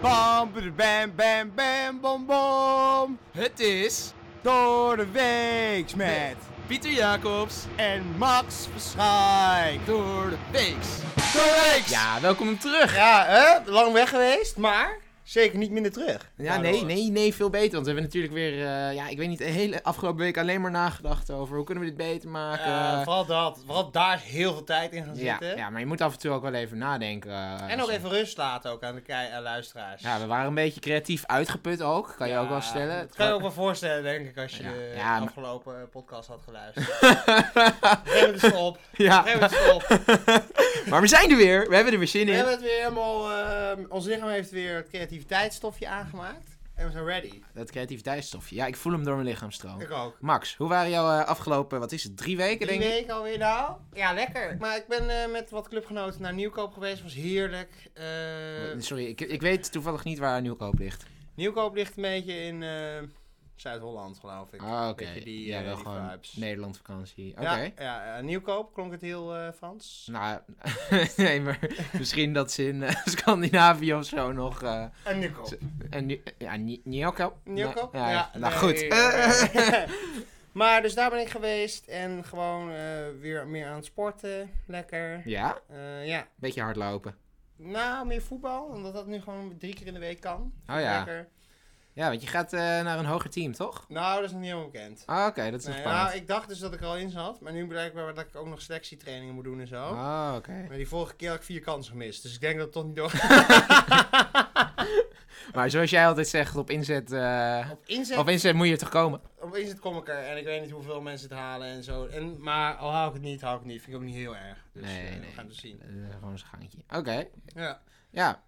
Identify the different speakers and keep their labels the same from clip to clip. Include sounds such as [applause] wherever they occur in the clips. Speaker 1: Bam, bada, bam, bam, bam, bom, bom.
Speaker 2: Het is
Speaker 1: Door de weeks met
Speaker 2: Pieter Jacobs
Speaker 1: en Max Verschijk.
Speaker 2: door de Weeks.
Speaker 1: Door de weeks! Ja,
Speaker 2: Ja, welkom terug.
Speaker 1: ja hè? lang weg geweest, maar zeker niet minder terug.
Speaker 2: Ja, nee, nee, nee, veel beter. Want we hebben natuurlijk weer, eh, ja, ik weet niet, de hele afgelopen week alleen maar nagedacht over hoe kunnen we dit beter maken.
Speaker 1: Eh, vooral dat, vooral daar heel veel tijd in gaan
Speaker 2: ja,
Speaker 1: zitten.
Speaker 2: ja, maar je moet af en toe ook wel even nadenken. eh,
Speaker 1: En ook
Speaker 2: als-
Speaker 1: even rust laten ook aan de kei- aan luisteraars.
Speaker 2: Ja, we waren een beetje creatief uitgeput ook, kan je ook wel stellen.
Speaker 1: Dat kan je ook wel voorstellen, denk ik, als je
Speaker 2: Ja.
Speaker 1: de
Speaker 2: Ja, maar-
Speaker 1: afgelopen podcast had
Speaker 2: [laughs]
Speaker 1: geluisterd. Geef het eens op.
Speaker 2: Ja,
Speaker 1: Geef het eens op.
Speaker 2: maar we zijn er weer, we hebben er weer zin
Speaker 1: We
Speaker 2: in.
Speaker 1: hebben het weer helemaal. eh, ons lichaam heeft weer het creativiteitsstofje aangemaakt. En we zijn ready.
Speaker 2: Dat creativiteitsstofje, ja, ik voel hem door mijn lichaam stromen.
Speaker 1: Ik ook.
Speaker 2: Max, hoe waren jouw eh, afgelopen, wat is het, drie weken
Speaker 1: Drie
Speaker 2: Oh. denk ik?
Speaker 1: weken alweer nou? Ja, lekker. Maar ik ben eh, met wat clubgenoten naar Nieuwkoop geweest. was heerlijk. Eh,
Speaker 2: Sorry, ik, ik weet toevallig niet waar Nieuwkoop ligt.
Speaker 1: Nieuwkoop ligt een beetje in eh, Zuid-Holland, geloof ik.
Speaker 2: Ah, oké.
Speaker 1: Beetje die,
Speaker 2: ja,
Speaker 1: eh,
Speaker 2: wel
Speaker 1: die
Speaker 2: gewoon
Speaker 1: vibes.
Speaker 2: Nederland vakantie. Oké.
Speaker 1: Ja, ja, eh, Nieuwkoop klonk het heel eh, Frans.
Speaker 2: Nou, [laughs] nee, maar
Speaker 1: [laughs]
Speaker 2: misschien dat ze in eh, [laughs] Scandinavië of zo nog... eh,
Speaker 1: En Nieuwkoop.
Speaker 2: Zo- en nu, ja, Ni- Nieuwkoop?
Speaker 1: Nieuwkoop?
Speaker 2: Nee, ja, nou
Speaker 1: nee. [laughs]
Speaker 2: goed. [laughs] Eh,
Speaker 1: maar dus daar ben ik geweest. En gewoon eh, weer meer aan het sporten. Lekker.
Speaker 2: ja,
Speaker 1: Eh, ja,
Speaker 2: beetje hardlopen.
Speaker 1: Nou, meer voetbal, omdat dat nu gewoon drie keer in de week kan.
Speaker 2: Oh ja.
Speaker 1: Lekker.
Speaker 2: Ja, want je gaat eh, naar een hoger team, toch?
Speaker 1: Nou, dat is nog niet helemaal bekend.
Speaker 2: Ah, oké, dat is nog
Speaker 1: Nee,
Speaker 2: spannend.
Speaker 1: nou, ik dacht dus dat ik er al in zat, maar nu blijkbaar dat ik ook nog selectietrainingen moet doen en zo.
Speaker 2: Ah, oké.
Speaker 1: Maar die vorige keer had ik vier kansen gemist, dus ik denk dat het toch niet
Speaker 2: [laughs]
Speaker 1: door
Speaker 2: Maar zoals jij altijd zegt, op inzet, eh,
Speaker 1: op inzet.
Speaker 2: op inzet moet je toch komen?
Speaker 1: Op inzet kom ik er en ik weet niet hoeveel mensen het halen en zo. En, maar al hou ik het niet, hou ik het niet. Vind ik ook niet heel erg. Dus
Speaker 2: Nee,
Speaker 1: eh,
Speaker 2: nee.
Speaker 1: we gaan het zien.
Speaker 2: Eh, gewoon zijn gangetje. Oké,
Speaker 1: Ja. [laughs]
Speaker 2: ja.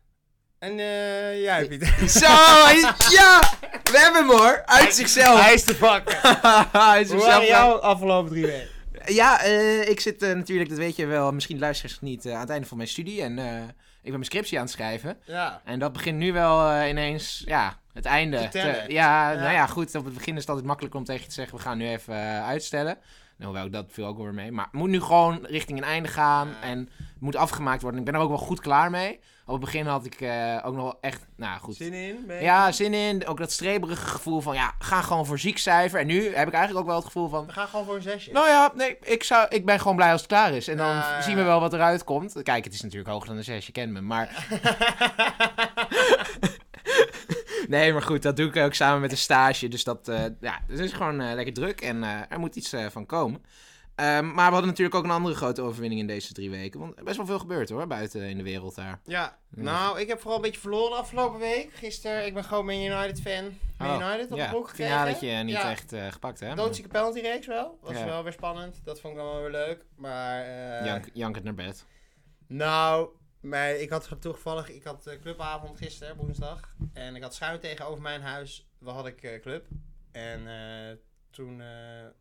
Speaker 1: En eh, jij, Pieter.
Speaker 2: Zo, hij is- ja! We hebben hem hoor, uit zichzelf.
Speaker 1: Hij is te pakken.
Speaker 2: [laughs] Hij is
Speaker 1: Hoe
Speaker 2: zichzelf
Speaker 1: waren jouw afgelopen drie weken?
Speaker 2: Ja, eh, ik zit eh, natuurlijk, dat weet je wel, misschien luisteren ze niet, eh, aan het einde van mijn studie. En eh, ik ben mijn scriptie aan het schrijven.
Speaker 1: Ja.
Speaker 2: En dat begint nu wel eh, ineens, ja, het einde.
Speaker 1: Te tellen.
Speaker 2: ja,
Speaker 1: Ja.
Speaker 2: nou ja, goed. Op het begin is het altijd makkelijk om tegen je te zeggen, we gaan nu even eh, uitstellen. Nou, hoewel, dat viel ook weer mee. Maar het moet nu gewoon richting een einde gaan.
Speaker 1: Ja.
Speaker 2: En het moet afgemaakt worden. Ik ben er ook wel goed klaar mee. Op het begin had ik eh, ook nog wel echt, nou goed.
Speaker 1: Zin in? Ben je-
Speaker 2: Ja, zin in. Ook dat streberige gevoel van, ja, ga gewoon voor ziek cijfer. En nu heb ik eigenlijk ook wel het gevoel van,
Speaker 1: We gaan gewoon voor een zesje.
Speaker 2: nou ja, nee, ik, zou, ik ben gewoon blij als het klaar is. En dan
Speaker 1: Ja, ja.
Speaker 2: zien we wel wat eruit komt. Kijk, het is natuurlijk hoger dan een 6, je kent me. Maar [laughs] nee, maar goed, dat doe ik ook samen met een stage. Dus dat eh, ja, het is gewoon eh, lekker druk en eh, er moet iets eh, van komen. Ehm, maar we hadden natuurlijk ook een andere grote overwinning in deze drie weken. Want er is best wel veel gebeurd hoor, buiten in de wereld daar.
Speaker 1: Ja, nou, ik heb vooral een beetje verloren afgelopen week. Gisteren, ik ben gewoon Man United fan. Man
Speaker 2: Oh,
Speaker 1: United nou op
Speaker 2: ja,
Speaker 1: de broek gekregen.
Speaker 2: finaletje niet
Speaker 1: ja,
Speaker 2: echt eh, gepakt hè.
Speaker 1: Doodzieke penalty reeks wel. Was
Speaker 2: Ja.
Speaker 1: wel weer spannend. Dat vond ik dan wel weer leuk. Maar, eh
Speaker 2: Jank, jankend naar bed.
Speaker 1: nou, maar ik had toevallig, ik had eh, clubavond gisteren, woensdag. En ik had schuin tegenover mijn huis, waar had ik eh, club. En eh, toen eh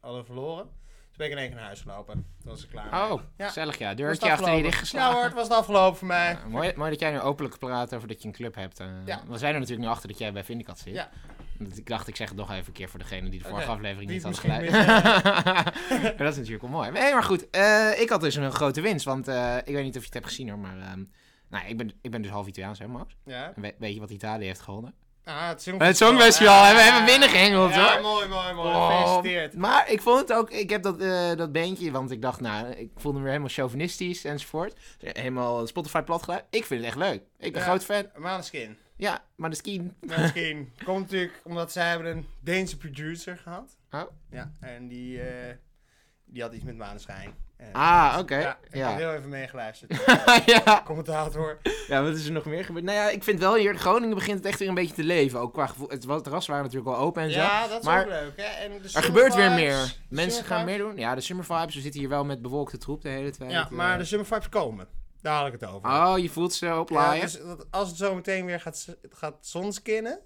Speaker 1: hadden we verloren. Toen ben ik in één keer naar huis gelopen. Toen was ik klaar. mee.
Speaker 2: Oh,
Speaker 1: Ja. Nou,
Speaker 2: gezellig ja.
Speaker 1: Was het
Speaker 2: Deurtje achter je
Speaker 1: afgelopen?
Speaker 2: dicht
Speaker 1: Ja hoor, het was het afgelopen voor mij.
Speaker 2: Ja, Eh, mooi, mooi dat jij nu openlijk praat over dat je een club hebt. eh.
Speaker 1: Ja.
Speaker 2: We zijn er natuurlijk nu achter dat jij bij Vindicat zit.
Speaker 1: Ja.
Speaker 2: Want Ik dacht, ik zeg het nog even een keer voor degene die de vorige
Speaker 1: Oké,
Speaker 2: aflevering
Speaker 1: die
Speaker 2: niet
Speaker 1: het
Speaker 2: had geluisterd.
Speaker 1: misschien
Speaker 2: [laughs] Maar dat is natuurlijk wel mooi. Maar, hey, maar goed, eh, ik had dus een grote winst. Want eh, ik weet niet of je het hebt gezien hoor, maar ehm, nou, ik, ben, ik ben dus half Italiaans, hè Max?
Speaker 1: Ja.
Speaker 2: En we- weet je wat Italië heeft gewonnen?
Speaker 1: Ah, het Songfestival.
Speaker 2: Het Songfestival, hè, we hebben binnen
Speaker 1: binnen
Speaker 2: gehengeld,
Speaker 1: ja,
Speaker 2: hoor.
Speaker 1: mooi, mooi, mooi.
Speaker 2: Oh,
Speaker 1: Gefeliciteerd.
Speaker 2: Maar ik vond het ook, ik heb dat, eh dat bandje, want ik dacht, nou, ik voelde me weer helemaal chauvinistisch enzovoort. Helemaal Spotify platgeluid. Ik vind het echt leuk. Ik ben
Speaker 1: Ja.
Speaker 2: groot fan.
Speaker 1: Maneskin.
Speaker 2: Ja, maar de ski.
Speaker 1: Maneskin. [laughs] Komt natuurlijk omdat zij hebben een Deense producer gehad.
Speaker 2: Oh.
Speaker 1: Ja, en die, eh, die had iets met maneschijn. En-
Speaker 2: Ah, oké.
Speaker 1: Ja, ik
Speaker 2: Ja.
Speaker 1: heb heel even meegeluisterd. [laughs]
Speaker 2: [laughs] ja.
Speaker 1: Commentator.
Speaker 2: ja, wat is er nog meer gebeurd? Nou ja, ik vind wel hier in Groningen begint het echt weer een beetje te leven. Ook qua gevoel. Het, het terras waren natuurlijk al open en zo.
Speaker 1: Ja, dat is
Speaker 2: maar
Speaker 1: ook leuk. Hè? En de
Speaker 2: er
Speaker 1: summer
Speaker 2: gebeurt weer
Speaker 1: vibes,
Speaker 2: meer.
Speaker 1: de
Speaker 2: Mensen
Speaker 1: summer
Speaker 2: gaan
Speaker 1: vibes.
Speaker 2: meer doen. Ja, de summer vibes. We zitten hier wel met bewolkte troep de hele tijd.
Speaker 1: Ja,
Speaker 2: Eh,
Speaker 1: maar de summer vibes komen. Daar had ik het over.
Speaker 2: Oh, je voelt ze
Speaker 1: Ja,
Speaker 2: oplaaien.
Speaker 1: dus dat- als het zo meteen weer gaat, s- gaat zonskinnen,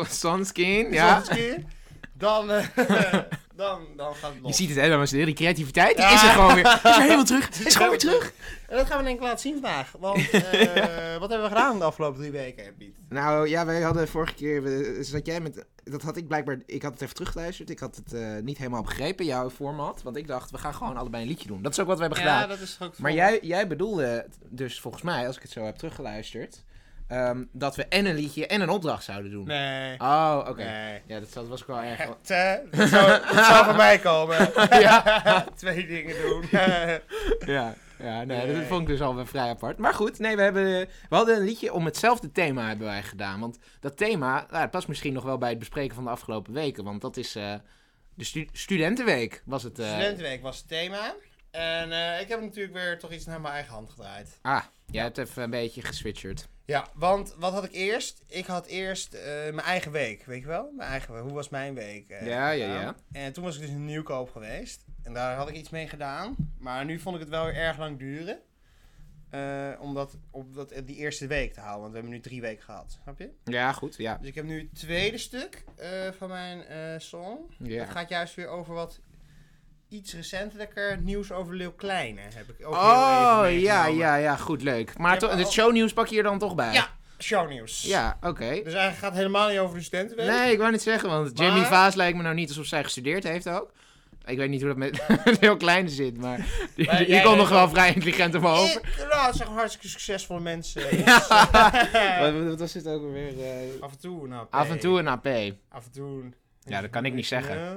Speaker 2: Sunskin, ja.
Speaker 1: zonskinnen, dan,
Speaker 2: [laughs]
Speaker 1: eh, dan, dan gaat het
Speaker 2: Je
Speaker 1: los.
Speaker 2: ziet het hè, dames en heren. Die creativiteit die
Speaker 1: Ja.
Speaker 2: is er gewoon weer. Is weer helemaal
Speaker 1: [laughs]
Speaker 2: terug. Is gewoon weer terug.
Speaker 1: En dat gaan we denk ik laten zien vandaag.
Speaker 2: [laughs]
Speaker 1: Want eh, wat hebben we gedaan de afgelopen drie weken, Piet?
Speaker 2: Nou ja, wij hadden vorige keer. we- Zat jij met. Dat had ik blijkbaar. Ik had het even teruggeluisterd. Ik had het eh, niet helemaal begrepen, jouw format. Want ik dacht, we gaan gewoon allebei een liedje doen. Dat is ook wat we hebben gedaan.
Speaker 1: dat is ook.
Speaker 2: Maar jij, jij bedoelde het dus volgens mij, als ik het zo heb teruggeluisterd. ehm, dat we en een liedje en een opdracht zouden doen.
Speaker 1: Nee.
Speaker 2: Oh, oké.
Speaker 1: Nee.
Speaker 2: Ja, dat, dat was ik wel
Speaker 1: [laughs]
Speaker 2: erg.
Speaker 1: Het, eh, het zou,
Speaker 2: [laughs]
Speaker 1: het zou van mij komen.
Speaker 2: Ja.
Speaker 1: [laughs] Twee dingen doen.
Speaker 2: [laughs] Ja, ja nee, dat
Speaker 1: Nee.
Speaker 2: vond ik dus al wel vrij apart. Maar goed, nee, we, hebben, eh, we hadden een liedje om hetzelfde thema hebben wij gedaan. Want dat thema, nou, het past misschien nog wel bij het bespreken van de afgelopen weken. Want dat is eh, de stu- studentenweek, was het. eh.
Speaker 1: Studentenweek was het thema. En eh, ik heb natuurlijk weer toch iets naar mijn eigen hand gedraaid.
Speaker 2: Ah, jij hebt even een beetje geswitcherd.
Speaker 1: Ja, want wat had ik eerst? Ik had eerst eh, mijn eigen week, weet je wel? Mijn eigen week. Hoe was mijn week? eh,
Speaker 2: Ja, ja,
Speaker 1: gedaan?
Speaker 2: ja.
Speaker 1: En toen was ik dus in Nieuwkoop geweest. En daar had ik iets mee gedaan. Maar nu vond ik het wel weer erg lang duren. Eh, om dat, om dat, eh, die eerste week te houden. Want we hebben nu drie weken gehad, snap je?
Speaker 2: Ja, goed, ja.
Speaker 1: Dus ik heb nu het tweede stuk eh, van mijn eh, song.
Speaker 2: ja.
Speaker 1: Het gaat juist weer over wat iets recentelijker nieuws over Leeuw Kleine. Heb ik ook heel
Speaker 2: Oh,
Speaker 1: even
Speaker 2: ja,
Speaker 1: meegenomen.
Speaker 2: ja, ja, goed, leuk. Maar
Speaker 1: Ik
Speaker 2: to-
Speaker 1: heb
Speaker 2: het
Speaker 1: al-
Speaker 2: shownieuws pak je er dan toch bij?
Speaker 1: Ja, shownieuws.
Speaker 2: Ja,
Speaker 1: Dus
Speaker 2: oké.
Speaker 1: eigenlijk gaat het helemaal niet over de studentenweek.
Speaker 2: Nee, ik wou niet zeggen, want
Speaker 1: Maar-
Speaker 2: Jamie Vaas lijkt me nou niet alsof zij gestudeerd heeft ook. Ik weet niet hoe dat met [laughs] een heel kleine zit, maar die,
Speaker 1: Maar
Speaker 2: die
Speaker 1: jij
Speaker 2: komt nog
Speaker 1: weet
Speaker 2: wel vrij intelligent omhoog. [laughs] over.
Speaker 1: Ik, nou, het zijn gewoon hartstikke succesvolle mensen. [laughs]
Speaker 2: [laughs] Wat, wat- wat was dit ook alweer? eh,
Speaker 1: Af en toe een AP.
Speaker 2: Af en toe een AP.
Speaker 1: Af en toe een-
Speaker 2: Ja, dat kan ik niet zeggen.
Speaker 1: Eh,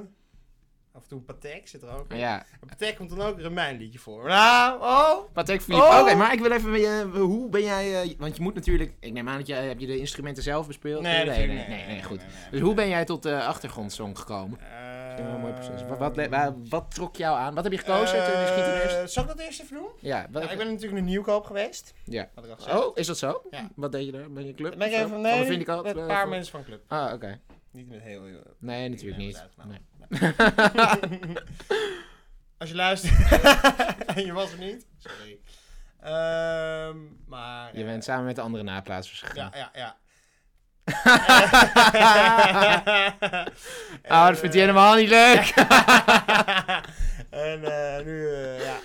Speaker 1: Af en toe een Patek zit er ook. in.
Speaker 2: Ja.
Speaker 1: En Patek komt dan ook weer een mijn liedje voor. Nou, oh.
Speaker 2: Patek Philippe.
Speaker 1: Oh!
Speaker 2: Oké, maar ik wil even... eh, hoe ben jij... eh, want je moet natuurlijk... Ik neem aan dat jij... Heb je de instrumenten zelf bespeeld? nee, nee, nee, nee, goed. Dus hoe ben jij tot de achtergrondsong gekomen? Dat is wel een mooi proces.
Speaker 1: Eh,
Speaker 2: Wat, wat, le- waar- wat trok jou aan? Wat heb je gekozen? Toen misschien ten eerste?
Speaker 1: Zal ik dat eerst even doen?
Speaker 2: Ja, wat
Speaker 1: Ja, ik ben natuurlijk naar Nieuwkoop geweest.
Speaker 2: Ja.
Speaker 1: Wat ik al gezegd.
Speaker 2: Oh, is dat zo?
Speaker 1: Ja.
Speaker 2: Wat deed je daar? Ben je een club?
Speaker 1: Ben ik
Speaker 2: of zo?
Speaker 1: even,
Speaker 2: Van de
Speaker 1: nee,
Speaker 2: Vindicat?
Speaker 1: met een
Speaker 2: Eh,
Speaker 1: paar
Speaker 2: van-
Speaker 1: mensen van club.
Speaker 2: Ah, oké.
Speaker 1: Niet met heel... heel
Speaker 2: Nee, natuurlijk niet. Nee.
Speaker 1: [laughs] Als je luistert [laughs] en je was er niet, sorry. Ehm, maar...
Speaker 2: Je
Speaker 1: eh,
Speaker 2: bent samen met de andere naplaatsers
Speaker 1: Ja,
Speaker 2: gegaan.
Speaker 1: ja, ja.
Speaker 2: [laughs] Ah, dat vindt hij helemaal niet leuk.
Speaker 1: [laughs] en eh, nu, eh, ja.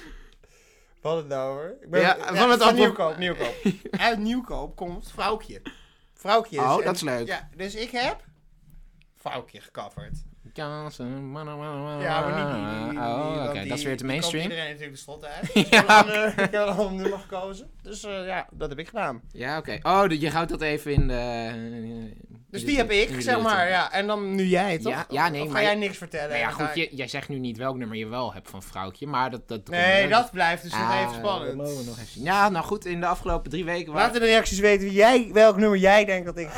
Speaker 1: Wat het nou hoor? Ik ben,
Speaker 2: Ja,
Speaker 1: ja,
Speaker 2: van
Speaker 1: van
Speaker 2: het appel-
Speaker 1: Nieuwkoop, Nieuwkoop.
Speaker 2: [laughs]
Speaker 1: Uit Nieuwkoop komt Vrouwkje. Vrouwkje is...
Speaker 2: Oh,
Speaker 1: en-
Speaker 2: dat is leuk.
Speaker 1: Ja, dus ik heb Vrouwkje gecoverd.
Speaker 2: [laughs] Kansen, oh, manna, manna, manna.
Speaker 1: Ja, maar niet die. die- die- die-
Speaker 2: Oh, oké.
Speaker 1: want die-
Speaker 2: Dat is weer te
Speaker 1: die koopt
Speaker 2: mainstream.
Speaker 1: iedereen natuurlijk de slot
Speaker 2: [laughs]
Speaker 1: uit.
Speaker 2: Ja,
Speaker 1: Dus ik, heb een, eh, ik heb een ander nummer gekozen. Dus eh, ja, dat heb ik gedaan.
Speaker 2: Ja, oké. Oh, de- je houdt dat even in de...
Speaker 1: Dus
Speaker 2: in
Speaker 1: die
Speaker 2: de-
Speaker 1: heb
Speaker 2: in
Speaker 1: ik,
Speaker 2: de
Speaker 1: zeg
Speaker 2: lucht.
Speaker 1: maar. Ja, en dan nu jij, toch?
Speaker 2: Ja, ja, nee,
Speaker 1: of ga
Speaker 2: maar-
Speaker 1: jij niks vertellen?
Speaker 2: Maar Nou ja,
Speaker 1: Dan ga
Speaker 2: goed,
Speaker 1: ik-
Speaker 2: je- jij zegt nu niet welk nummer je wel hebt van Vrouwtje, maar dat... dat
Speaker 1: Nee, dat blijft dus nog
Speaker 2: Ah,
Speaker 1: even spannend.
Speaker 2: dat mogen we nog even zien. Ja, nou goed, in de afgelopen drie
Speaker 1: [laughs]
Speaker 2: weken... waren- [laughs]
Speaker 1: Laat in de reacties weten wie jij, welk nummer jij denkt dat ik...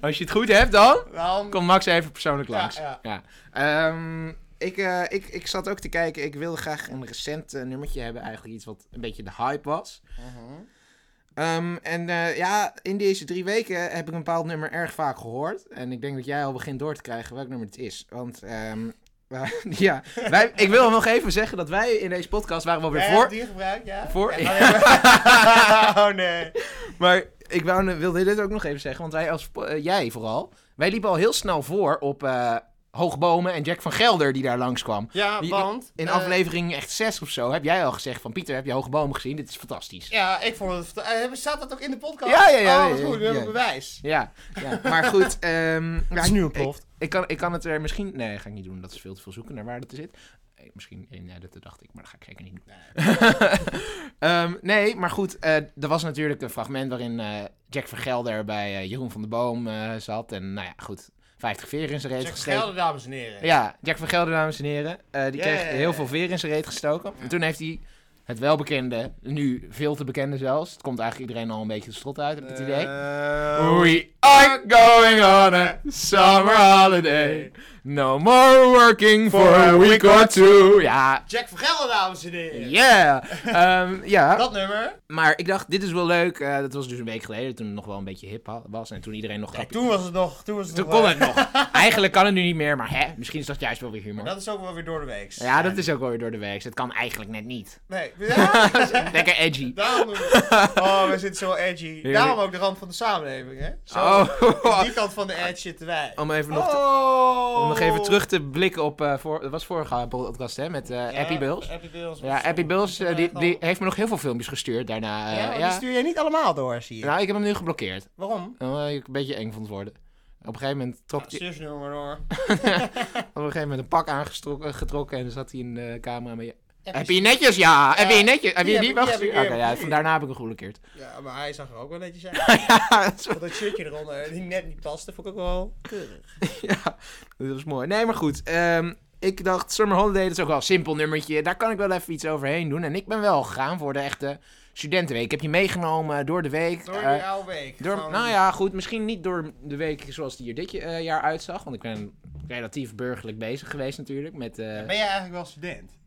Speaker 2: Als je het goed hebt dan...
Speaker 1: Dan...
Speaker 2: Kom Max even persoonlijk
Speaker 1: Ja,
Speaker 2: langs. Ja.
Speaker 1: ja.
Speaker 2: Ehm, ik, eh, ik, ik zat ook te kijken. Ik wilde graag een recent eh, nummertje hebben. Eigenlijk iets wat een beetje de hype was.
Speaker 1: Mhm.
Speaker 2: Ehm, en eh, ja, in deze drie weken heb ik een bepaald nummer erg vaak gehoord. En ik denk dat jij al begint door te krijgen welk nummer het is. Want ehm, [laughs] eh, ja, wij, ik wil nog even zeggen dat wij in deze podcast waren wel weer
Speaker 1: Jij
Speaker 2: voor.
Speaker 1: hebt die gebruikt, ja?
Speaker 2: voor-
Speaker 1: Ja, ga weer- [laughs] oh nee.
Speaker 2: Maar ik wou, wilde dit ook nog even zeggen, want wij als eh, jij vooral, wij liepen al heel snel voor op eh, Hoogbomen en Jack van Gelder die daar langskwam.
Speaker 1: Ja,
Speaker 2: Die-
Speaker 1: want...
Speaker 2: In
Speaker 1: eh,
Speaker 2: aflevering echt 6 of zo heb jij al gezegd van Pieter, heb je Hoogbomen gezien? Dit is fantastisch.
Speaker 1: Ja, ik vond het... fanta- eh, Staat dat ook in de podcast?
Speaker 2: Ja, ja, ja,
Speaker 1: Oh, wat
Speaker 2: ja,
Speaker 1: goed, we hebben
Speaker 2: ja.
Speaker 1: bewijs.
Speaker 2: Ja, ja.
Speaker 1: [laughs]
Speaker 2: maar goed. ehm, ja,
Speaker 1: is nu
Speaker 2: ik-
Speaker 1: ontploft.
Speaker 2: Ik, ik, kan, ik kan het er misschien... Nee, ga ik niet doen. Dat is veel te veel zoeken naar waar dat er zit. Eh, Misschien in dat dacht ik, maar dat ga ik zeker niet doen.
Speaker 1: [laughs]
Speaker 2: Ehm, nee, maar goed, eh, er was natuurlijk een fragment waarin eh, Jack Vergelder bij eh, Jeroen van der Boom eh, zat. En nou ja, goed, 50 veer in zijn reet
Speaker 1: Zeg
Speaker 2: gestoken.
Speaker 1: Gelder, dames en heren.
Speaker 2: Ja, Jack Vergelder, dames en heren. eh, die
Speaker 1: Ja,
Speaker 2: kreeg
Speaker 1: ja, ja,
Speaker 2: heel
Speaker 1: ja.
Speaker 2: veel veer in zijn reet gestoken. En toen heeft hij het welbekende, nu veel te bekende zelfs. Het komt eigenlijk iedereen al een beetje de strot uit, heb ik het idee. Eh,
Speaker 1: Eh,
Speaker 2: We are going on a summer holiday. No more working for a week or two. Ja,
Speaker 1: Jack Vergelder, dames en heren.
Speaker 2: yeah. Ehm, ja.
Speaker 1: Dat nummer.
Speaker 2: Maar ik dacht, dit is wel leuk. Eh, dat was dus een week geleden, toen het nog wel een beetje hip ha- was. En toen iedereen nog grapje...
Speaker 1: toen was het nog. Toen, was het
Speaker 2: Toen
Speaker 1: nog
Speaker 2: kon
Speaker 1: wel-
Speaker 2: het nog. [laughs] Eigenlijk kan het nu niet meer, maar hè, misschien is dat juist wel weer humor.
Speaker 1: Dat is ook wel weer door de week.
Speaker 2: Nou Ja, dat is ook wel weer door de werk. Dus Het kan eigenlijk net
Speaker 1: [laughs]
Speaker 2: niet.
Speaker 1: Nee. Ja, [laughs]
Speaker 2: Lekker edgy.
Speaker 1: daarom. doen
Speaker 2: [laughs]
Speaker 1: we- Oh, we zitten zo edgy. Daarom ook de rand van de samenleving, hè? Zo.
Speaker 2: Oh.
Speaker 1: Die kant van de edge zitten wij.
Speaker 2: Om even nog, te-
Speaker 1: Oh.
Speaker 2: om nog even terug te blikken op... eh, voor, dat was vorige podcast, hè, met eh
Speaker 1: Ja,
Speaker 2: Happy Bills.
Speaker 1: Happy Bills.
Speaker 2: Ja, Happy Bills, eh, die,
Speaker 1: Ja,
Speaker 2: die heeft me nog heel veel filmpjes gestuurd daarna. eh,
Speaker 1: ja, maar
Speaker 2: ja.
Speaker 1: die stuur je niet allemaal door, zie je.
Speaker 2: Nou, ik heb hem nu geblokkeerd.
Speaker 1: Waarom?
Speaker 2: Omdat ik een beetje eng vond worden. Op een gegeven moment trok hij
Speaker 1: Stuur ze nu maar door.
Speaker 2: op een, gegeven moment een pak aangetrokken getrokken en dan zat hij in de camera met... Heb je je netjes? Ja. Heb je je netjes? Heb
Speaker 1: die
Speaker 2: je
Speaker 1: heb
Speaker 2: die
Speaker 1: ik-
Speaker 2: wel
Speaker 1: die heb
Speaker 2: gestuurd?
Speaker 1: ik
Speaker 2: Oké,
Speaker 1: weer.
Speaker 2: ja, van daarna heb ik hem goedgekeerd.
Speaker 1: Ja, maar hij zag er ook wel netjes uit.
Speaker 2: [laughs] ja, dat
Speaker 1: [laughs]
Speaker 2: is-
Speaker 1: Want dat shirtje eronder, die net niet paste, vond ik ook wel keurig.
Speaker 2: [laughs] ja, dat was mooi. Nee, maar goed. ehm, ik dacht, Summer Holiday, dat is ook wel een simpel nummertje. Daar kan ik wel even iets overheen doen. En ik ben wel gegaan voor de echte studentenweek. Ik heb je meegenomen door de week.
Speaker 1: Door
Speaker 2: eh,
Speaker 1: die oude week.
Speaker 2: Door,
Speaker 1: gewoon-
Speaker 2: nou ja, goed. Misschien niet door de week zoals die er dit je- eh, jaar uitzag. Want ik ben relatief burgerlijk bezig geweest natuurlijk. Met, eh,
Speaker 1: Ben jij eigenlijk wel student?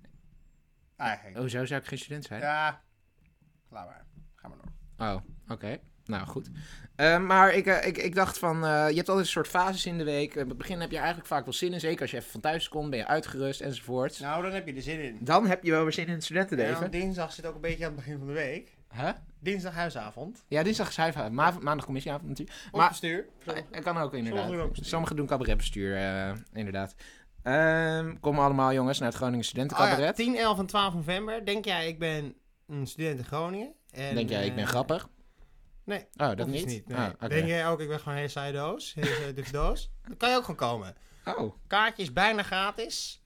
Speaker 1: Eigenlijk.
Speaker 2: Oh, zo zou ik geen student zijn?
Speaker 1: Ja. Laat maar. Ga maar door.
Speaker 2: Oh, oké. Nou, goed. Eh, maar ik, eh, ik, ik dacht van, eh, je hebt altijd een soort fases in de week. Eh, Bij het begin heb je eigenlijk vaak wel zin in. Zeker als je even van thuis komt, ben je uitgerust enzovoort.
Speaker 1: Nou, dan heb je er zin in.
Speaker 2: Dan heb je wel weer zin in het
Speaker 1: En
Speaker 2: studentenleven.
Speaker 1: dan dinsdag zit ook een beetje aan het begin van de week.
Speaker 2: Huh?
Speaker 1: Dinsdag huisavond.
Speaker 2: Ja, dinsdag is huif- ma- maandag commissieavond natuurlijk.
Speaker 1: Maar,
Speaker 2: Maar Oh,
Speaker 1: bestuur.
Speaker 2: dat kan ook inderdaad.
Speaker 1: Sommigen doen ook bestuur.
Speaker 2: Sommigen doen cabaretbestuur, eh inderdaad. Ehm, kom allemaal jongens naar het Groningen
Speaker 1: Ah ja,
Speaker 2: Studentencabaret.
Speaker 1: 10, 11 en 12 november. Denk jij, ik ben een student in Groningen? En,
Speaker 2: Denk jij, ik ben grappig?
Speaker 1: nee,
Speaker 2: Oh, dat
Speaker 1: of
Speaker 2: niet?
Speaker 1: niet nee.
Speaker 2: Ah, oké.
Speaker 1: Denk jij ook, ik ben gewoon een hele saaie doos? Hele saaie duffe doos? Dan kan je ook gewoon komen.
Speaker 2: Oh,
Speaker 1: Kaartje is bijna gratis.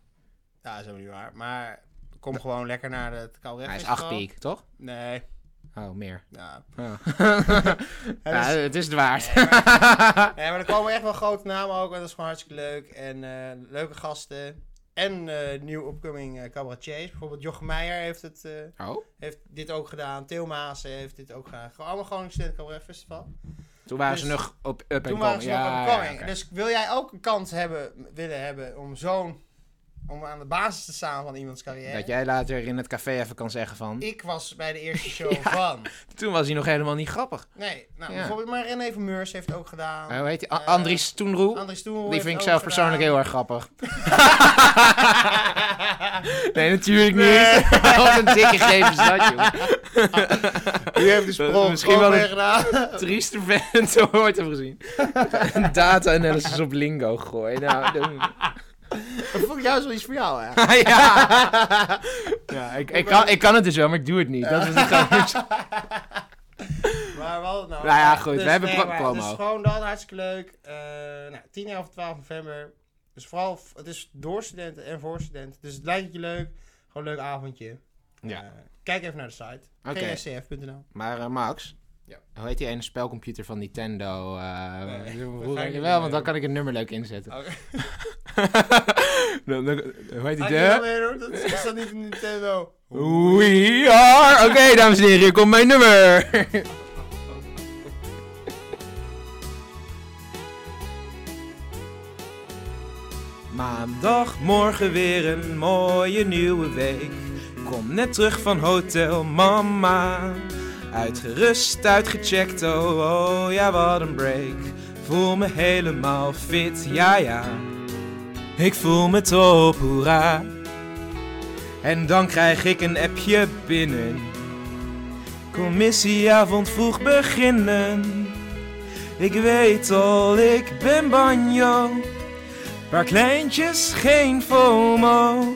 Speaker 1: Ja, dat is helemaal niet waar. Maar kom gewoon lekker naar het Calref
Speaker 2: hij is 8 piek, toch?
Speaker 1: Nee,
Speaker 2: Oh, meer. [laughs]
Speaker 1: nou.
Speaker 2: Oh.
Speaker 1: [laughs] Ja,
Speaker 2: ja, het is het waard.
Speaker 1: Nee, maar er komen echt wel grote namen ook. En dat is gewoon hartstikke leuk. En eh, leuke gasten. En eh nieuw upcoming eh cabaretiers. Bijvoorbeeld Jochem Meijer heeft, het, eh,
Speaker 2: Oh,
Speaker 1: heeft dit ook gedaan. Theo Maassen heeft dit ook gedaan. Gewoon allemaal gewoon een student cabaret festival.
Speaker 2: toen waren ze
Speaker 1: Dus-
Speaker 2: nog op up
Speaker 1: Toen
Speaker 2: and
Speaker 1: waren
Speaker 2: coming.
Speaker 1: ze nog
Speaker 2: Ja,
Speaker 1: aan
Speaker 2: ja,
Speaker 1: de coming.
Speaker 2: oké.
Speaker 1: Dus wil jij ook een kans hebben, willen hebben om zo'n... Om aan de basis te staan van iemands carrière.
Speaker 2: Dat jij later in het café even kan zeggen van...
Speaker 1: Ik was bij de
Speaker 2: [laughs]
Speaker 1: eerste show van...
Speaker 2: Toen was hij nog helemaal niet grappig.
Speaker 1: Nee, nou,
Speaker 2: Ja.
Speaker 1: bijvoorbeeld, maar René Vermeurs heeft het ook gedaan.
Speaker 2: Eh, hoe heet hij?
Speaker 1: Eh,
Speaker 2: Andries Toenroe.
Speaker 1: Andries Toer
Speaker 2: Die
Speaker 1: heeft
Speaker 2: vind ik
Speaker 1: het
Speaker 2: zelf
Speaker 1: ook
Speaker 2: persoonlijk
Speaker 1: gedaan.
Speaker 2: heel erg grappig.
Speaker 1: [laughs]
Speaker 2: Nee, natuurlijk niet. [laughs] Wat een dikke geven is dat, joh.
Speaker 1: U heeft de
Speaker 2: Dat-
Speaker 1: sprong
Speaker 2: misschien
Speaker 1: misschien wel
Speaker 2: wel
Speaker 1: weer gedaan.
Speaker 2: Trieste vent ooit hebben [laughs] gezien. Data analysis op lingo gooien. Nou, dat-
Speaker 1: Dat vond ik juist wel iets voor jou, hè?
Speaker 2: [laughs] ja. ja ik, ik, kan, ik kan het dus wel, maar ik doe het niet. Dat is het grootste.
Speaker 1: Maar wel, nou,
Speaker 2: Nou ja, goed, we hebben pro-
Speaker 1: maar
Speaker 2: promo.
Speaker 1: Dus gewoon dat, hartstikke leuk. Eh, nou, 10, 11, 12 november. Dus vooral, f- het is door studenten en voor studenten. Dus het lijkt je leuk. Gewoon een leuk avondje.
Speaker 2: Ja.
Speaker 1: Eh, kijk even naar de site.
Speaker 2: [laughs] Oké.
Speaker 1: gscf.nl
Speaker 2: Maar eh, Max,
Speaker 1: Ja.
Speaker 2: hoe heet die ene spelcomputer van Nintendo? eh
Speaker 1: Nee,
Speaker 2: hoe-
Speaker 1: dat ga ik
Speaker 2: hoe-
Speaker 1: niet
Speaker 2: wel, want
Speaker 1: doen.
Speaker 2: dan kan ik Oh. het nummer leuk inzetten.
Speaker 1: Oké.
Speaker 2: [laughs] Dan- dan- hoe heet Oh, die?
Speaker 1: Ah,
Speaker 2: De...
Speaker 1: Nintendo, Dat is dat niet Nintendo.
Speaker 2: We are... Oké, dames en heren, hier komt mijn nummer. Maandagmorgen weer een mooie nieuwe week. Kom net terug van hotel mama. Uitgerust, uitgecheckt, oh, oh ja, wat een break. Voel me helemaal fit, ja ja. Ik voel me top, hoera. En dan krijg ik een appje binnen. Commissieavond vroeg beginnen. Ik weet al, ik ben banjo. Paar kleintjes, geen FOMO.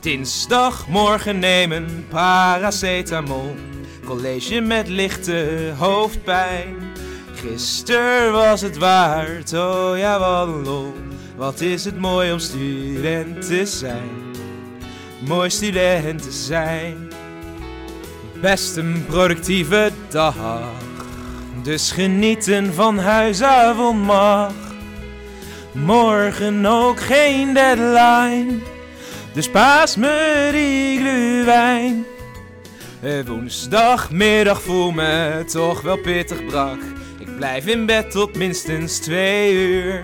Speaker 2: Dinsdagmorgen nemen paracetamol. College met lichte hoofdpijn. Gister was het waard, oh ja, wat een lol. Wat is het mooi om student te zijn mooi student te zijn. Best een productieve dag, dus genieten van huisavond mag. Morgen ook geen deadline, dus paas me die gluwijn. Eh, Woensdagmiddag voel me toch wel pittig brak. Ik blijf in bed tot minstens twee uur.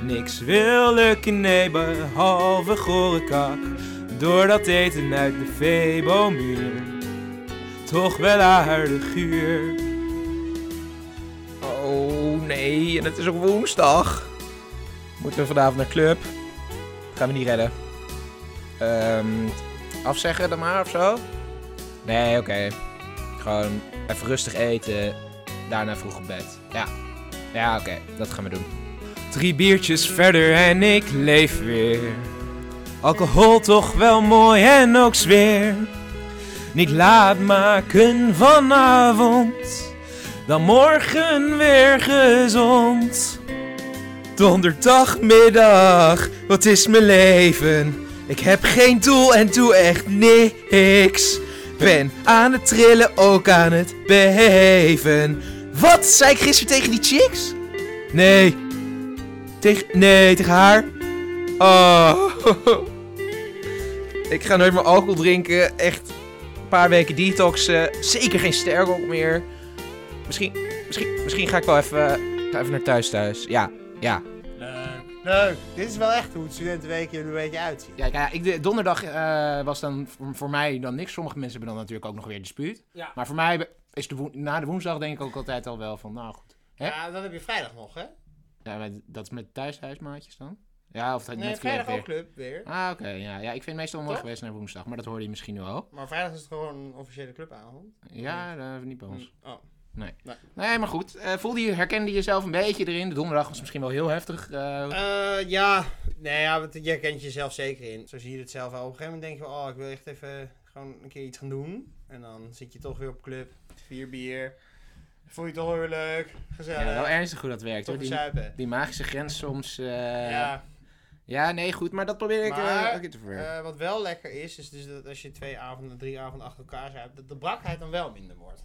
Speaker 2: Niks wil lukken, nee, behalve gore kak. Door dat eten uit de Febo-muur. Toch wel aardig uur. Oh nee, en het is ook woensdag. Moeten we vanavond naar club? Gaan we niet redden. Ehm, afzeggen dan maar of zo? Nee, oké. Gewoon even rustig eten, daarna vroeg op bed. Ja, ja oké, dat gaan we doen. Drie biertjes verder en ik leef weer. Alcohol toch wel mooi en ook sfeer. Niet laat maken vanavond, dan morgen weer gezond. Donderdagmiddag, wat is mijn leven?
Speaker 3: Ik heb geen doel en doe echt niks. Ben aan het trillen, ook aan het beheven. Wat zei ik gisteren tegen die chicks? Nee. Tegen. Nee, tegen haar. Oh. Ik ga nooit meer alcohol drinken. Echt een paar weken detoxen. Zeker geen sterrenrok meer. Misschien, misschien, misschien ga ik wel even, ga even naar thuis thuis. Ja, ja.
Speaker 1: Leuk. Leuk. Dit is wel echt hoe het studentenweek er een beetje uitziet.
Speaker 2: Ja, ja ik, donderdag eh, was dan voor, voor mij dan niks. Sommige mensen hebben dan natuurlijk ook nog weer dispuut.
Speaker 1: Ja.
Speaker 2: Maar voor mij is de woen- na de woensdag denk ik ook altijd al wel van, nou goed. Hè?
Speaker 1: Ja, dan heb je vrijdag nog, hè?
Speaker 2: Ja, maar dat is met thuishuismaatjes dan? Ja, of
Speaker 1: Nee,
Speaker 2: met
Speaker 1: vrijdag
Speaker 2: weer.
Speaker 1: ook club weer.
Speaker 2: Ah, oké. ja. ja, ik vind meestal mooi
Speaker 1: Toch?
Speaker 2: geweest naar woensdag, maar dat hoorde je misschien nu al.
Speaker 1: Maar vrijdag is het gewoon een officiële clubavond.
Speaker 2: Ja, dat niet bij ons.
Speaker 1: Oh.
Speaker 2: Nee, maar goed. Eh, voelde je, herkende je jezelf een beetje erin? De donderdag was misschien wel heel heftig. eh,
Speaker 1: Eh, ja, nee, ja, want je kent jezelf zeker in. Zo zie je het zelf wel. Op een gegeven moment denk je, wel, oh, ik wil echt even gewoon een keer iets gaan doen. En dan zit je toch weer op club, vier bier. Voel je het toch weer leuk, gezellig.
Speaker 2: ja, wel ernstig hoe dat werkt
Speaker 1: toch
Speaker 2: hoor.
Speaker 1: weer
Speaker 2: Die,
Speaker 1: zuipen.
Speaker 2: die magische grens soms. eh, ja.
Speaker 1: ja,
Speaker 2: nee, goed. Maar dat probeer ik eh,
Speaker 1: Maar,
Speaker 2: ook in te verwerken.
Speaker 1: eh, wat wel lekker is, is dus dat als je twee avonden, drie avonden achter elkaar zuipt, dat de brakheid dan wel minder wordt.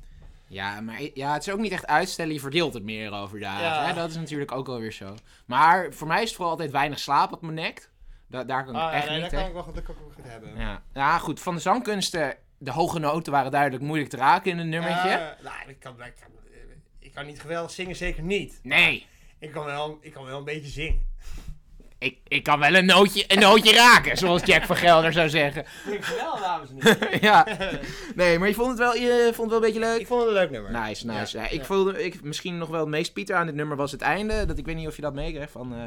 Speaker 2: Ja, maar i- ja, het is ook niet echt uitstellen. Je verdeelt het meer over dagen.
Speaker 1: Ja.
Speaker 2: Hè? Dat is natuurlijk ook alweer zo. Maar voor mij is het vooral altijd weinig slaap op mijn nek. Da- daar kan ik
Speaker 1: Ah, ja,
Speaker 2: echt
Speaker 1: nee,
Speaker 2: niet
Speaker 1: dat kan
Speaker 2: tegen.
Speaker 1: ik wel goed, dat kan ik wel goed hebben.
Speaker 2: Ja. ja, goed. Van de zangkunsten, de hoge noten waren duidelijk moeilijk te raken in een nummertje.
Speaker 1: Eh, nou, ik kan, ik, kan, eh, ik kan niet geweldig zingen, zeker niet.
Speaker 2: Nee,
Speaker 1: Ik kan wel, ik kan wel een beetje zingen.
Speaker 2: ik, ik kan wel een nootje, een nootje raken, zoals Jack van Gelder zou
Speaker 1: [laughs]
Speaker 2: zeggen.
Speaker 1: Dankjewel, [laughs] dames en heren.
Speaker 2: ja, nee, maar je vond het wel, je vond het wel een beetje leuk.
Speaker 1: ik vond het een leuk nummer.
Speaker 2: Nice, nice.
Speaker 1: Ja,
Speaker 2: Ja, ik
Speaker 1: ja.
Speaker 2: voelde ik, misschien nog wel het meest Pieter aan dit nummer was het einde. Dat ik weet niet of je dat meekreeg van eh,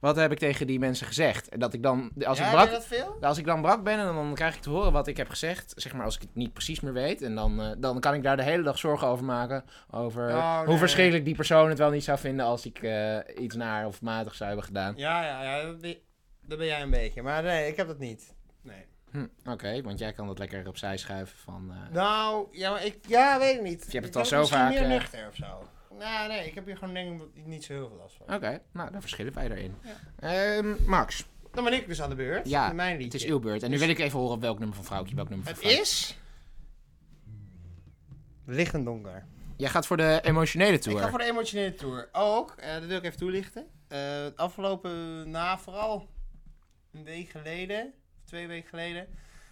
Speaker 2: wat heb ik tegen die mensen gezegd. En dat ik dan, als
Speaker 1: ja,
Speaker 2: ik
Speaker 1: deed
Speaker 2: brak,
Speaker 1: dat veel?
Speaker 2: als ik dan brak ben en dan krijg ik te horen wat ik heb gezegd. Zeg maar als ik het niet precies meer weet. En dan, eh, dan kan ik daar de hele dag zorgen over maken. Over
Speaker 1: Oh, nee.
Speaker 2: hoe verschrikkelijk die persoon het wel niet zou vinden als ik eh, iets naar of matig zou hebben gedaan.
Speaker 1: Ja, ja, ja. Dat ben, dat ben jij een beetje. Maar nee, ik heb dat niet. Nee.
Speaker 2: Hm, Oké, want jij kan dat lekker opzij schuiven van... eh,
Speaker 1: Nou, ja, maar ik ja, weet ik niet.
Speaker 2: Je
Speaker 1: Ik
Speaker 2: hebt het al
Speaker 1: ben
Speaker 2: zo
Speaker 1: misschien
Speaker 2: vaak,
Speaker 1: meer
Speaker 2: eh,
Speaker 1: nuchter of zo. Nou, nee, ik heb hier gewoon denk ik niet zo heel veel last van.
Speaker 2: Oké, nou, daar verschillen wij daarin. Ehm, Max,
Speaker 1: Dan ben ik dus aan de beurt.
Speaker 2: Ja,
Speaker 1: met mijn
Speaker 2: het
Speaker 1: liedje.
Speaker 2: is uw beurt. En nu wil ik even horen op welk nummer van vrouwtje, welk nummer van
Speaker 1: Dus- Het
Speaker 2: vrouwtje.
Speaker 1: is... Licht en donker.
Speaker 2: Jij gaat voor de emotionele
Speaker 1: Ik ga
Speaker 2: tour.
Speaker 1: voor de emotionele tour. Ook, eh, dat wil ik even toelichten. Eh, het afgelopen, na vooral een week geleden, of twee weken geleden,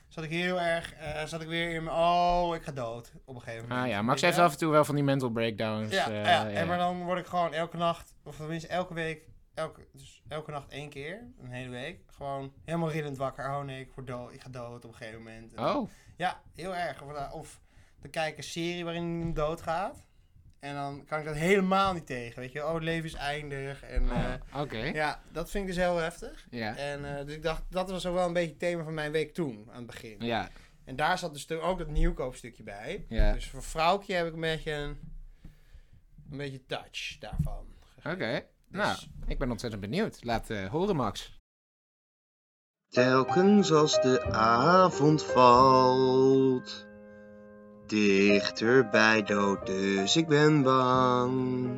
Speaker 1: zat ik heel erg, eh, zat ik weer in mijn, oh, ik ga dood, op een gegeven moment.
Speaker 2: Ah ja, Max
Speaker 1: Weet
Speaker 2: heeft
Speaker 1: je wel?
Speaker 2: af en toe wel van die mental breakdowns.
Speaker 1: Ja,
Speaker 2: eh,
Speaker 1: ja. En maar dan word ik gewoon elke nacht, of tenminste elke week, elke, dus elke nacht één keer, een hele week, gewoon helemaal rillend wakker. Oh nee, ik word dood, ik ga dood op een gegeven moment. En
Speaker 2: Oh,
Speaker 1: ja, heel erg. Of, eh, of dan kijk ik een serie waarin iemand doodgaat. En dan kan ik dat helemaal niet tegen. Weet je, wel. oh, het leven is eindig. En eh,
Speaker 2: Oh, nou, oké.
Speaker 1: ja, dat vind ik dus heel heftig.
Speaker 2: Ja.
Speaker 1: En eh, dus ik dacht, dat was ook wel een beetje het thema van mijn week toen, aan het begin.
Speaker 2: Ja,
Speaker 1: En daar zat dus toen ook dat nieuwkoopstukje bij.
Speaker 2: Ja.
Speaker 1: Dus voor vrouwtje heb ik een beetje een, een beetje touch daarvan.
Speaker 2: oké.
Speaker 1: Dus-
Speaker 2: Nou, ik ben ontzettend benieuwd. Laat eh, horen, Max. [laughs]
Speaker 4: Telkens als de avond valt, dichter bij dood, dus ik ben bang.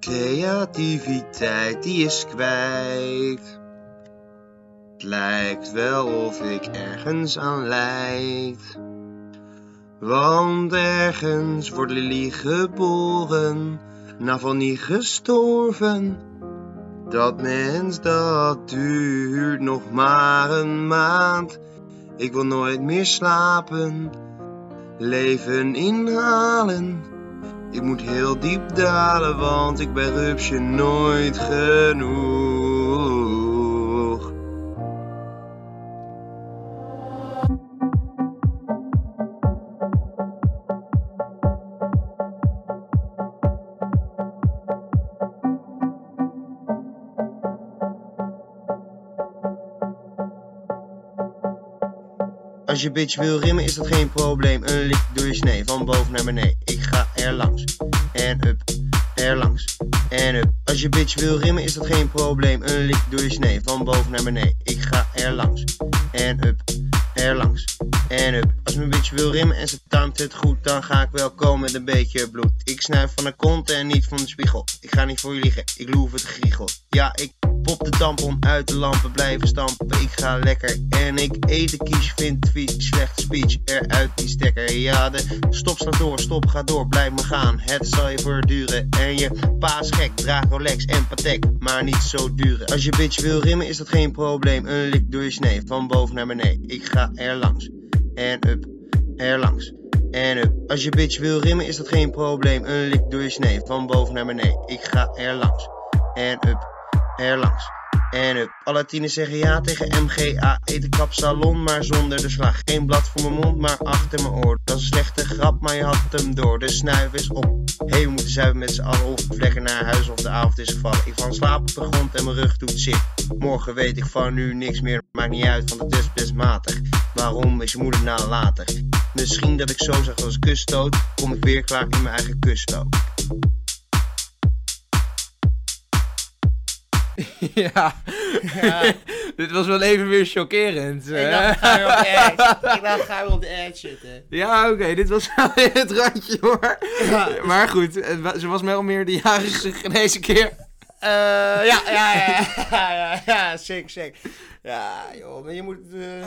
Speaker 4: Creativiteit die is kwijt. Het lijkt wel of ik ergens aan lijd. Want ergens wordt Lily geboren, na van niet gestorven. Dat mens dat duurt nog maar een maand. Ik wil nooit meer slapen, leven inhalen. Ik moet heel diep dalen, want ik ben rupsje nooit genoeg. Als je bitch wil rimmen is dat geen probleem. Een lik door je snee, van boven naar beneden. Ik ga er langs en up, er langs en up. Als je bitch wil rimmen is dat geen probleem. Een lik door je snee, van boven naar beneden. Ik ga er langs en up, er langs en up. Als mijn bitch wil rimmen en ze timet het goed, dan ga ik wel komen met een beetje bloed. Ik snuif van de kont en niet van de spiegel. Ik ga niet voor je liegen, ik loef het giegel. Ja, ik Pop de tampon uit de lampen, blijven stampen. Ik ga lekker en ik eten kies. Vind tweet slecht speech eruit die stekker. Ja, de stop staat door, stop gaat door, blijf maar gaan. Het zal je voortduren en je pa is gek. Draag Rolex en Patek, maar niet zo dure. Als je bitch wil rimmen is dat geen probleem. Een lik door je snee, van boven naar beneden. Ik ga er langs en up, er langs. En up. Als je bitch wil rimmen is dat geen probleem. Een lik door je snee, van boven naar beneden. Ik ga er langs en up, er langs. En up. Alle tieners zeggen ja tegen MGA. Eet een kapsalon, maar zonder de slag. Geen blad voor mijn mond, maar achter mijn oor. Dat is een slechte grap, maar je had hem door. De snuif is op. Hé, hey, we moeten zuipen met z'n allen. Of lekker naar huis of de avond is gevallen. Ik van slaap op de grond en mijn rug doet zit. Morgen weet ik van nu niks meer. Maakt niet uit, want het is best matig. Waarom is je moeder nalatig? Misschien dat ik zo zag als kusstoot. Kom ik weer klaar in mijn eigen kusloop.
Speaker 2: Ja. [laughs] Dit was wel even weer chockerend. eh.
Speaker 1: Ik
Speaker 2: hè?
Speaker 1: dacht, ga weer op de edge. Ik dacht, ga weer op de edge zitten.
Speaker 2: Ja, oké, dit was [laughs] wel weer het randje hoor.
Speaker 1: Ja.
Speaker 2: Maar goed, het wa- ze was wel meer de jarige [laughs] deze keer.
Speaker 1: Eh, ja, ja, ja, ja, [laughs] ja, ja, sick, sick. Ja, joh, maar je moet,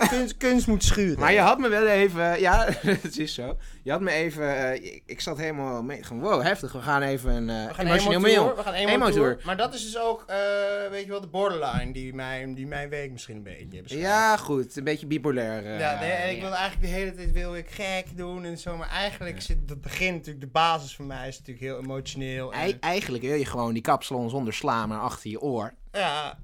Speaker 1: eh, kunst, kunst moet schuren.
Speaker 2: Maar je had me wel even, eh, ja, [laughs] het is zo. Je had me even, eh, ik, ik zat helemaal mee, gewoon, wow, heftig, we gaan even een eh,
Speaker 1: we gaan
Speaker 2: emotioneel
Speaker 1: emo tour,
Speaker 2: mail.
Speaker 1: We gaan emo,
Speaker 2: Emo
Speaker 1: tour.
Speaker 2: tour.
Speaker 1: Maar dat is dus ook, eh, weet je wel, de borderline die, mij, die mijn week misschien een beetje beschrijft.
Speaker 2: Ja, goed, een beetje bipolair. eh,
Speaker 1: Ja, nee, en ik
Speaker 2: ja.
Speaker 1: wil eigenlijk de hele tijd wil ik gek doen en zo, maar eigenlijk zit dat begin natuurlijk, de basis van mij is natuurlijk heel emotioneel. En,
Speaker 2: Ei- Eigenlijk wil je gewoon die kapsalon zonder sla maar achter je oor.
Speaker 1: ja,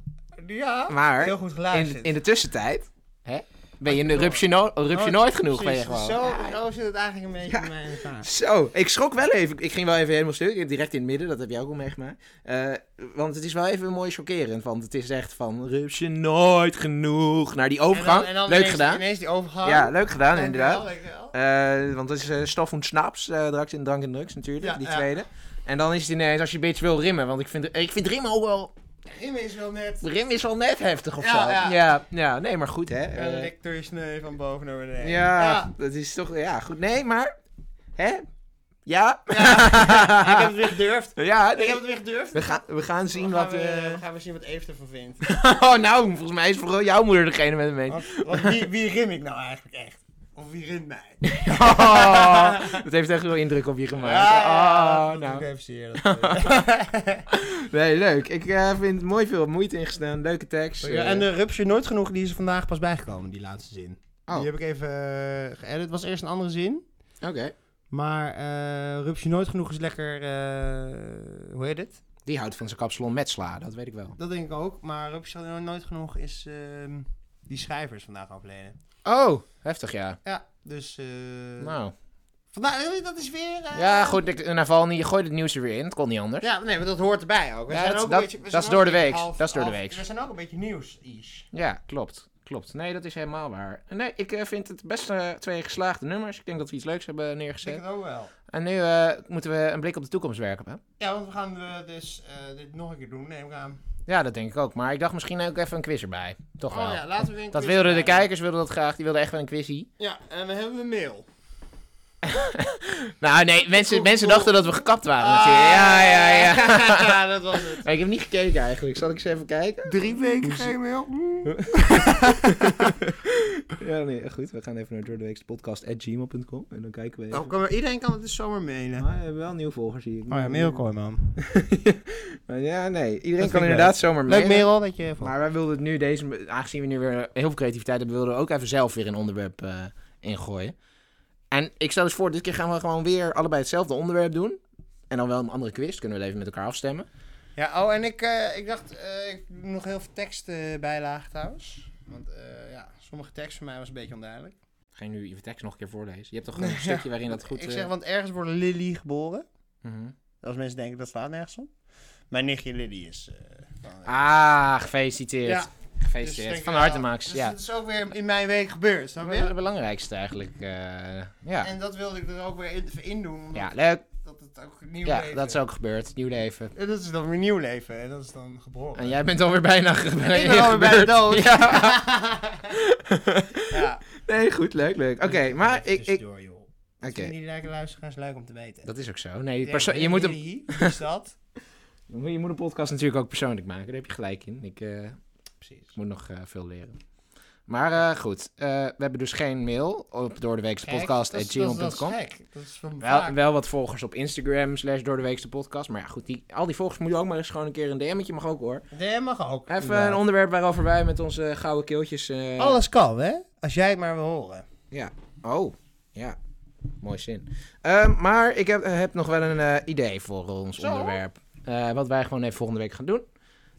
Speaker 1: ja,
Speaker 2: Maar
Speaker 1: heel goed
Speaker 2: in,
Speaker 1: geluisterd.
Speaker 2: in de tussentijd hè, ben je een rupsje, no- een rupsje nooit genoeg. Ben je
Speaker 1: Oh, Precies,
Speaker 2: gewoon.
Speaker 1: Zo,
Speaker 2: Ja,
Speaker 1: zo zit het eigenlijk een beetje
Speaker 2: Ja.
Speaker 1: in mijn elkaar.
Speaker 2: Zo, ik schrok wel even. Ik ging wel even helemaal stuk. Ik- Direct in het midden, dat heb jij ook al meegemaakt. Eh, want het is wel even mooi chockerend. Want het is echt van rupsje nooit genoeg naar die
Speaker 1: En
Speaker 2: overgang.
Speaker 1: dan- en dan
Speaker 2: leuk
Speaker 1: ineens-
Speaker 2: gedaan.
Speaker 1: Ineens die overgang.
Speaker 2: Ja, leuk gedaan
Speaker 1: Dankjewel,
Speaker 2: inderdaad.
Speaker 1: dankjewel.
Speaker 2: Eh, want dat is eh stof en snaps, eh drugs en drank en drugs natuurlijk,
Speaker 1: Ja,
Speaker 2: die
Speaker 1: ja.
Speaker 2: tweede. En dan is het ineens als je een beetje wil rimmen. Want ik vind, ik vind rimmen ook wel...
Speaker 1: Rimmen is wel net.
Speaker 2: Rim is wel net heftig of
Speaker 1: Ja,
Speaker 2: zo.
Speaker 1: ja.
Speaker 2: ja, ja, nee, maar goed hè. Eh,
Speaker 1: Een lik door je snee van boven naar beneden.
Speaker 2: Ja,
Speaker 1: Ja.
Speaker 2: dat is toch... Ja, goed. Nee, maar... Hè? Ja? [laughs]
Speaker 1: Ik heb het weer gedurfd.
Speaker 2: ja,
Speaker 1: Ik
Speaker 2: nee.
Speaker 1: heb het weer gedurfd.
Speaker 2: We gaan, we gaan zien
Speaker 1: We gaan
Speaker 2: wat...
Speaker 1: weer-
Speaker 2: eh,
Speaker 1: we gaan weer zien wat Eve ervan vindt.
Speaker 2: [laughs] oh, nou, volgens mij is vooral jouw moeder degene met een mening.
Speaker 1: Want, want wie, wie rim ik nou eigenlijk echt? Of wie rimt mij? [laughs]
Speaker 2: [laughs] Oh, dat heeft echt wel indruk op je gemaakt. oh,
Speaker 1: dat doe
Speaker 2: nou.
Speaker 1: ik even zeer,
Speaker 2: [laughs]
Speaker 1: dat, eh.
Speaker 2: Nee, leuk. Ik eh, vind mooi veel moeite ingestaan. Leuke tekst. Eh,
Speaker 1: Ja, en de rupsje nooit genoeg, die is er vandaag pas bijgekomen, die laatste zin.
Speaker 2: Oh.
Speaker 1: Die heb ik even eh, geëdit. Het was eerst een andere zin.
Speaker 2: Oké.
Speaker 1: Maar eh rupsje nooit genoeg is lekker. eh, hoe heet het?
Speaker 2: Die houdt van zijn kapsalon met sla, dat weet ik wel.
Speaker 1: Dat denk ik ook, maar Rupsje had nog nooit genoeg is ehm, die schrijvers vandaag overleden.
Speaker 2: Oh, heftig ja.
Speaker 1: Ja, dus eh
Speaker 2: Nou.
Speaker 1: vandaag eh, dat is weer. eh,
Speaker 2: Ja, goed. ik- Navalny, je gooit het nieuws er weer in. Het kon niet anders.
Speaker 1: Ja, nee, maar dat hoort erbij ook. We
Speaker 2: Ja,
Speaker 1: zijn
Speaker 2: dat-
Speaker 1: ook
Speaker 2: dat-
Speaker 1: een beetje, we
Speaker 2: dat
Speaker 1: zijn
Speaker 2: is
Speaker 1: ook
Speaker 2: door de
Speaker 1: een beetje
Speaker 2: week.
Speaker 1: half-
Speaker 2: Dat is door de
Speaker 1: half-
Speaker 2: week.
Speaker 1: We zijn ook een beetje nieuws-ish.
Speaker 2: Ja, klopt. Klopt. Nee, dat is helemaal waar. Nee, ik eh, vind het best eh, twee geslaagde nummers. Ik denk dat we iets leuks hebben
Speaker 1: Ik denk
Speaker 2: neergezet.
Speaker 1: het ook wel.
Speaker 2: En nu eh, moeten we een blik op de toekomst werpen. hè?
Speaker 1: Ja, want we gaan eh, dus eh, dit nog een keer doen, neem ik aan.
Speaker 2: Ja, dat denk ik ook. Maar ik dacht misschien ook even een quiz erbij.
Speaker 1: Oh
Speaker 2: Toch wel.
Speaker 1: ja, laten we weer een
Speaker 2: Dat
Speaker 1: quiz
Speaker 2: wilden de
Speaker 1: maken.
Speaker 2: kijkers wilden dat graag. Die wilden echt wel een quizzie.
Speaker 1: Ja, en we hebben een mail.
Speaker 2: Nou nee, mensen,
Speaker 1: Cool,
Speaker 2: mensen
Speaker 1: cool.
Speaker 2: dachten dat we gekapt
Speaker 1: Ah.
Speaker 2: waren natuurlijk. Ja, ja,
Speaker 1: [laughs]
Speaker 2: ja. [laughs]
Speaker 1: ja, dat was het.
Speaker 2: Maar ik heb niet gekeken eigenlijk. Zal ik eens even kijken?
Speaker 1: Drie weken geen mail.
Speaker 2: Ja, nee, goed. We gaan even naar doordeweekspodcast.gmail.com en dan kijken we even.
Speaker 1: Nou, kan er- iedereen kan het dus zomaar mailen.
Speaker 2: Maar we hebben wel nieuwe volgers zie ik.
Speaker 1: Oh ja, Merel Kooijman.
Speaker 2: Maar ja, nee. Iedereen
Speaker 1: vind
Speaker 2: kan
Speaker 1: ik
Speaker 2: inderdaad zomaar
Speaker 1: Leuk
Speaker 2: mailen.
Speaker 1: Merel dat je...
Speaker 2: Maar wij wilden het nu deze, aangezien we nu weer heel veel creativiteit hebben, wilden we ook even zelf weer een onderwerp eh, ingooien. En ik stel dus voor, dit keer gaan we gewoon weer allebei hetzelfde onderwerp doen. En dan wel een andere quiz, kunnen we het even met elkaar afstemmen.
Speaker 1: Ja, oh, en ik, eh, ik dacht, eh, ik doe nog heel veel teksten bijlagen trouwens. Want eh, ja, sommige tekst voor mij was een beetje onduidelijk.
Speaker 2: Ga je nu je tekst nog een keer voorlezen? Je hebt toch gewoon een stukje waarin dat goed...
Speaker 1: ik
Speaker 2: eh,
Speaker 1: zeg, want ergens wordt Lily geboren.
Speaker 2: mhm.
Speaker 1: Als mensen denken, dat slaat nergens op. Mijn nichtje Lily is... eh, van-
Speaker 2: Ah, gefeliciteerd.
Speaker 1: Ja. dus
Speaker 2: Gefeliciteerd.
Speaker 1: denk
Speaker 2: Van
Speaker 1: ik,
Speaker 2: harte,
Speaker 1: ja,
Speaker 2: Max.
Speaker 1: Dus
Speaker 2: ja.
Speaker 1: dat is ook weer in mijn week gebeurd, snap
Speaker 2: Dat is het
Speaker 1: je?
Speaker 2: belangrijkste eigenlijk. eh, ja.
Speaker 1: En dat wilde ik er ook weer in, even in doen, omdat
Speaker 2: ja, leuk.
Speaker 1: dat het ook nieuw
Speaker 2: Ja,
Speaker 1: leven
Speaker 2: dat is ook gebeurd. Nieuw leven.
Speaker 1: En dat is dan weer nieuw leven en dat is dan geboren.
Speaker 2: En jij bent alweer bijna ge-
Speaker 1: ik ben alweer bijna
Speaker 2: gebeurd.
Speaker 1: dood.
Speaker 2: Ja.
Speaker 1: [laughs] ja.
Speaker 2: Nee, goed, leuk, leuk. Oké, [laughs] maar ik... ik...
Speaker 1: Door, joh.
Speaker 2: Oké,
Speaker 1: Vinden jullie lekker luisteraars leuk om te weten?
Speaker 2: dat is dus- ook zo. Nee,
Speaker 1: Ja,
Speaker 2: perso- je moet hem...
Speaker 1: Lily, wie is dat?
Speaker 2: Je moet een podcast natuurlijk ook persoonlijk maken, daar heb je gelijk in. Ik eh,
Speaker 1: [laughs] Precies.
Speaker 2: moet nog eh, veel leren. Maar eh, goed, eh, we hebben dus geen mail op
Speaker 1: Gek. Dat is- dat is- dat is
Speaker 2: doordeweekspodcast.gmail.com.
Speaker 1: gek. Dat is van
Speaker 2: Wel,
Speaker 1: vaak.
Speaker 2: wel wat volgers op Instagram, slash doordeweekse podcast. Maar ja, goed, die, al die volgers moet je ook maar eens gewoon een keer een DM'tje, mag ook hoor.
Speaker 1: Nee, mag ook.
Speaker 2: Even
Speaker 1: Ja.
Speaker 2: een onderwerp waarover wij met onze gouden keeltjes... eh,
Speaker 1: Alles kan, hè? Als jij het maar wil horen.
Speaker 2: Ja. Oh, ja. Mooi zin. Ehm, maar ik heb, heb nog wel een eh, idee voor ons
Speaker 1: Zo?
Speaker 2: onderwerp. Eh, wat wij gewoon even volgende week gaan doen.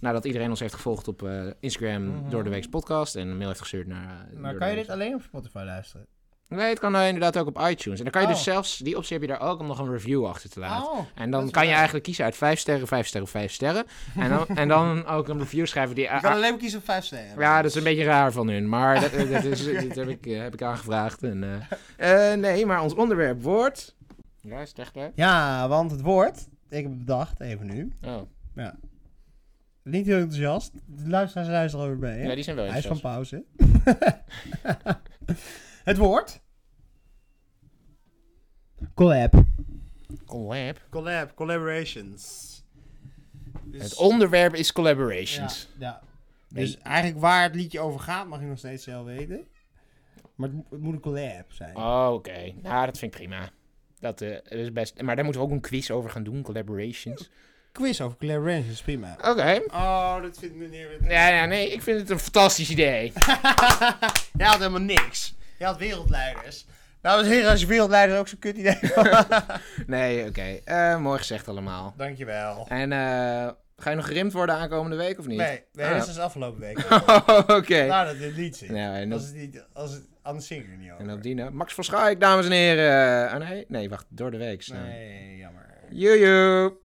Speaker 2: Nadat iedereen ons heeft gevolgd op eh, Instagram
Speaker 1: Mhm.
Speaker 2: door de week's podcast en een mail heeft gestuurd naar. eh,
Speaker 1: Maar
Speaker 2: door
Speaker 1: kan je
Speaker 2: de
Speaker 1: dit alleen op Spotify luisteren?
Speaker 2: Week's- Nee, het kan eh, inderdaad ook op iTunes. En dan kan je dus
Speaker 1: Oh.
Speaker 2: zelfs, die optie heb je daar ook om nog een review achter te laten.
Speaker 1: Oh, dat
Speaker 2: En dan
Speaker 1: is
Speaker 2: kan je
Speaker 1: waar.
Speaker 2: eigenlijk kiezen uit 5 sterren, 5 sterren, 5 sterren. En dan, en dan ook een review schrijven die.
Speaker 1: Je kan alleen maar kiezen op 5 sterren.
Speaker 2: Ja, dat is een beetje raar van hun, maar dat, [laughs] dat, is, dat heb, ik, eh, heb ik aangevraagd. En, eh, eh, nee, maar ons onderwerp wordt... Ja, is het echt hè?
Speaker 1: Ja, want het woord, ik heb het bedacht, even nu.
Speaker 2: Oh,
Speaker 1: Niet heel enthousiast. De luisteraars luisteren over mee. hè?
Speaker 2: ja, die zijn wel
Speaker 1: Hij is van
Speaker 2: enthousiast.
Speaker 1: pauze. [laughs] het woord. Collab.
Speaker 2: Collab.
Speaker 1: Collab, collaborations. Dus,
Speaker 2: Het onderwerp is collaborations.
Speaker 1: Ja, ja. Dus eigenlijk waar het liedje over gaat, mag je nog steeds zelf weten. Maar het, mo- het moet een collab zijn.
Speaker 2: Oh, Oké, nou, dat vind ik prima. Dat eh, is best... Maar daar moeten we ook een quiz over gaan doen, collaborations.
Speaker 1: Quiz over collaborations, is prima.
Speaker 2: Oké.
Speaker 1: Oh, dat vindt meneer weer...
Speaker 2: Ja, ja, nee, ik vind het een fantastisch idee.
Speaker 1: [laughs] Jij had helemaal niks. Jij had wereldleiders. Dames en heren, als je wereldleider ook zo'n kut idee
Speaker 2: [laughs] Nee, oké. Eh, mooi gezegd allemaal.
Speaker 1: Dankjewel.
Speaker 2: En eh, ga je nog gerimd worden aankomende week of niet?
Speaker 1: Nee, nee,
Speaker 2: Ah.
Speaker 1: dat is dus afgelopen week.
Speaker 2: [laughs] Oké.
Speaker 1: Nou, dat dit niet zit.
Speaker 2: Nou, en op-
Speaker 1: Als het niet, als het, anders zing ik er niet over.
Speaker 2: En op die nou. Max van Schaik, dames en heren. Ah nee, nee, wacht, door de week.
Speaker 1: Nee, jammer.
Speaker 2: Joejoe.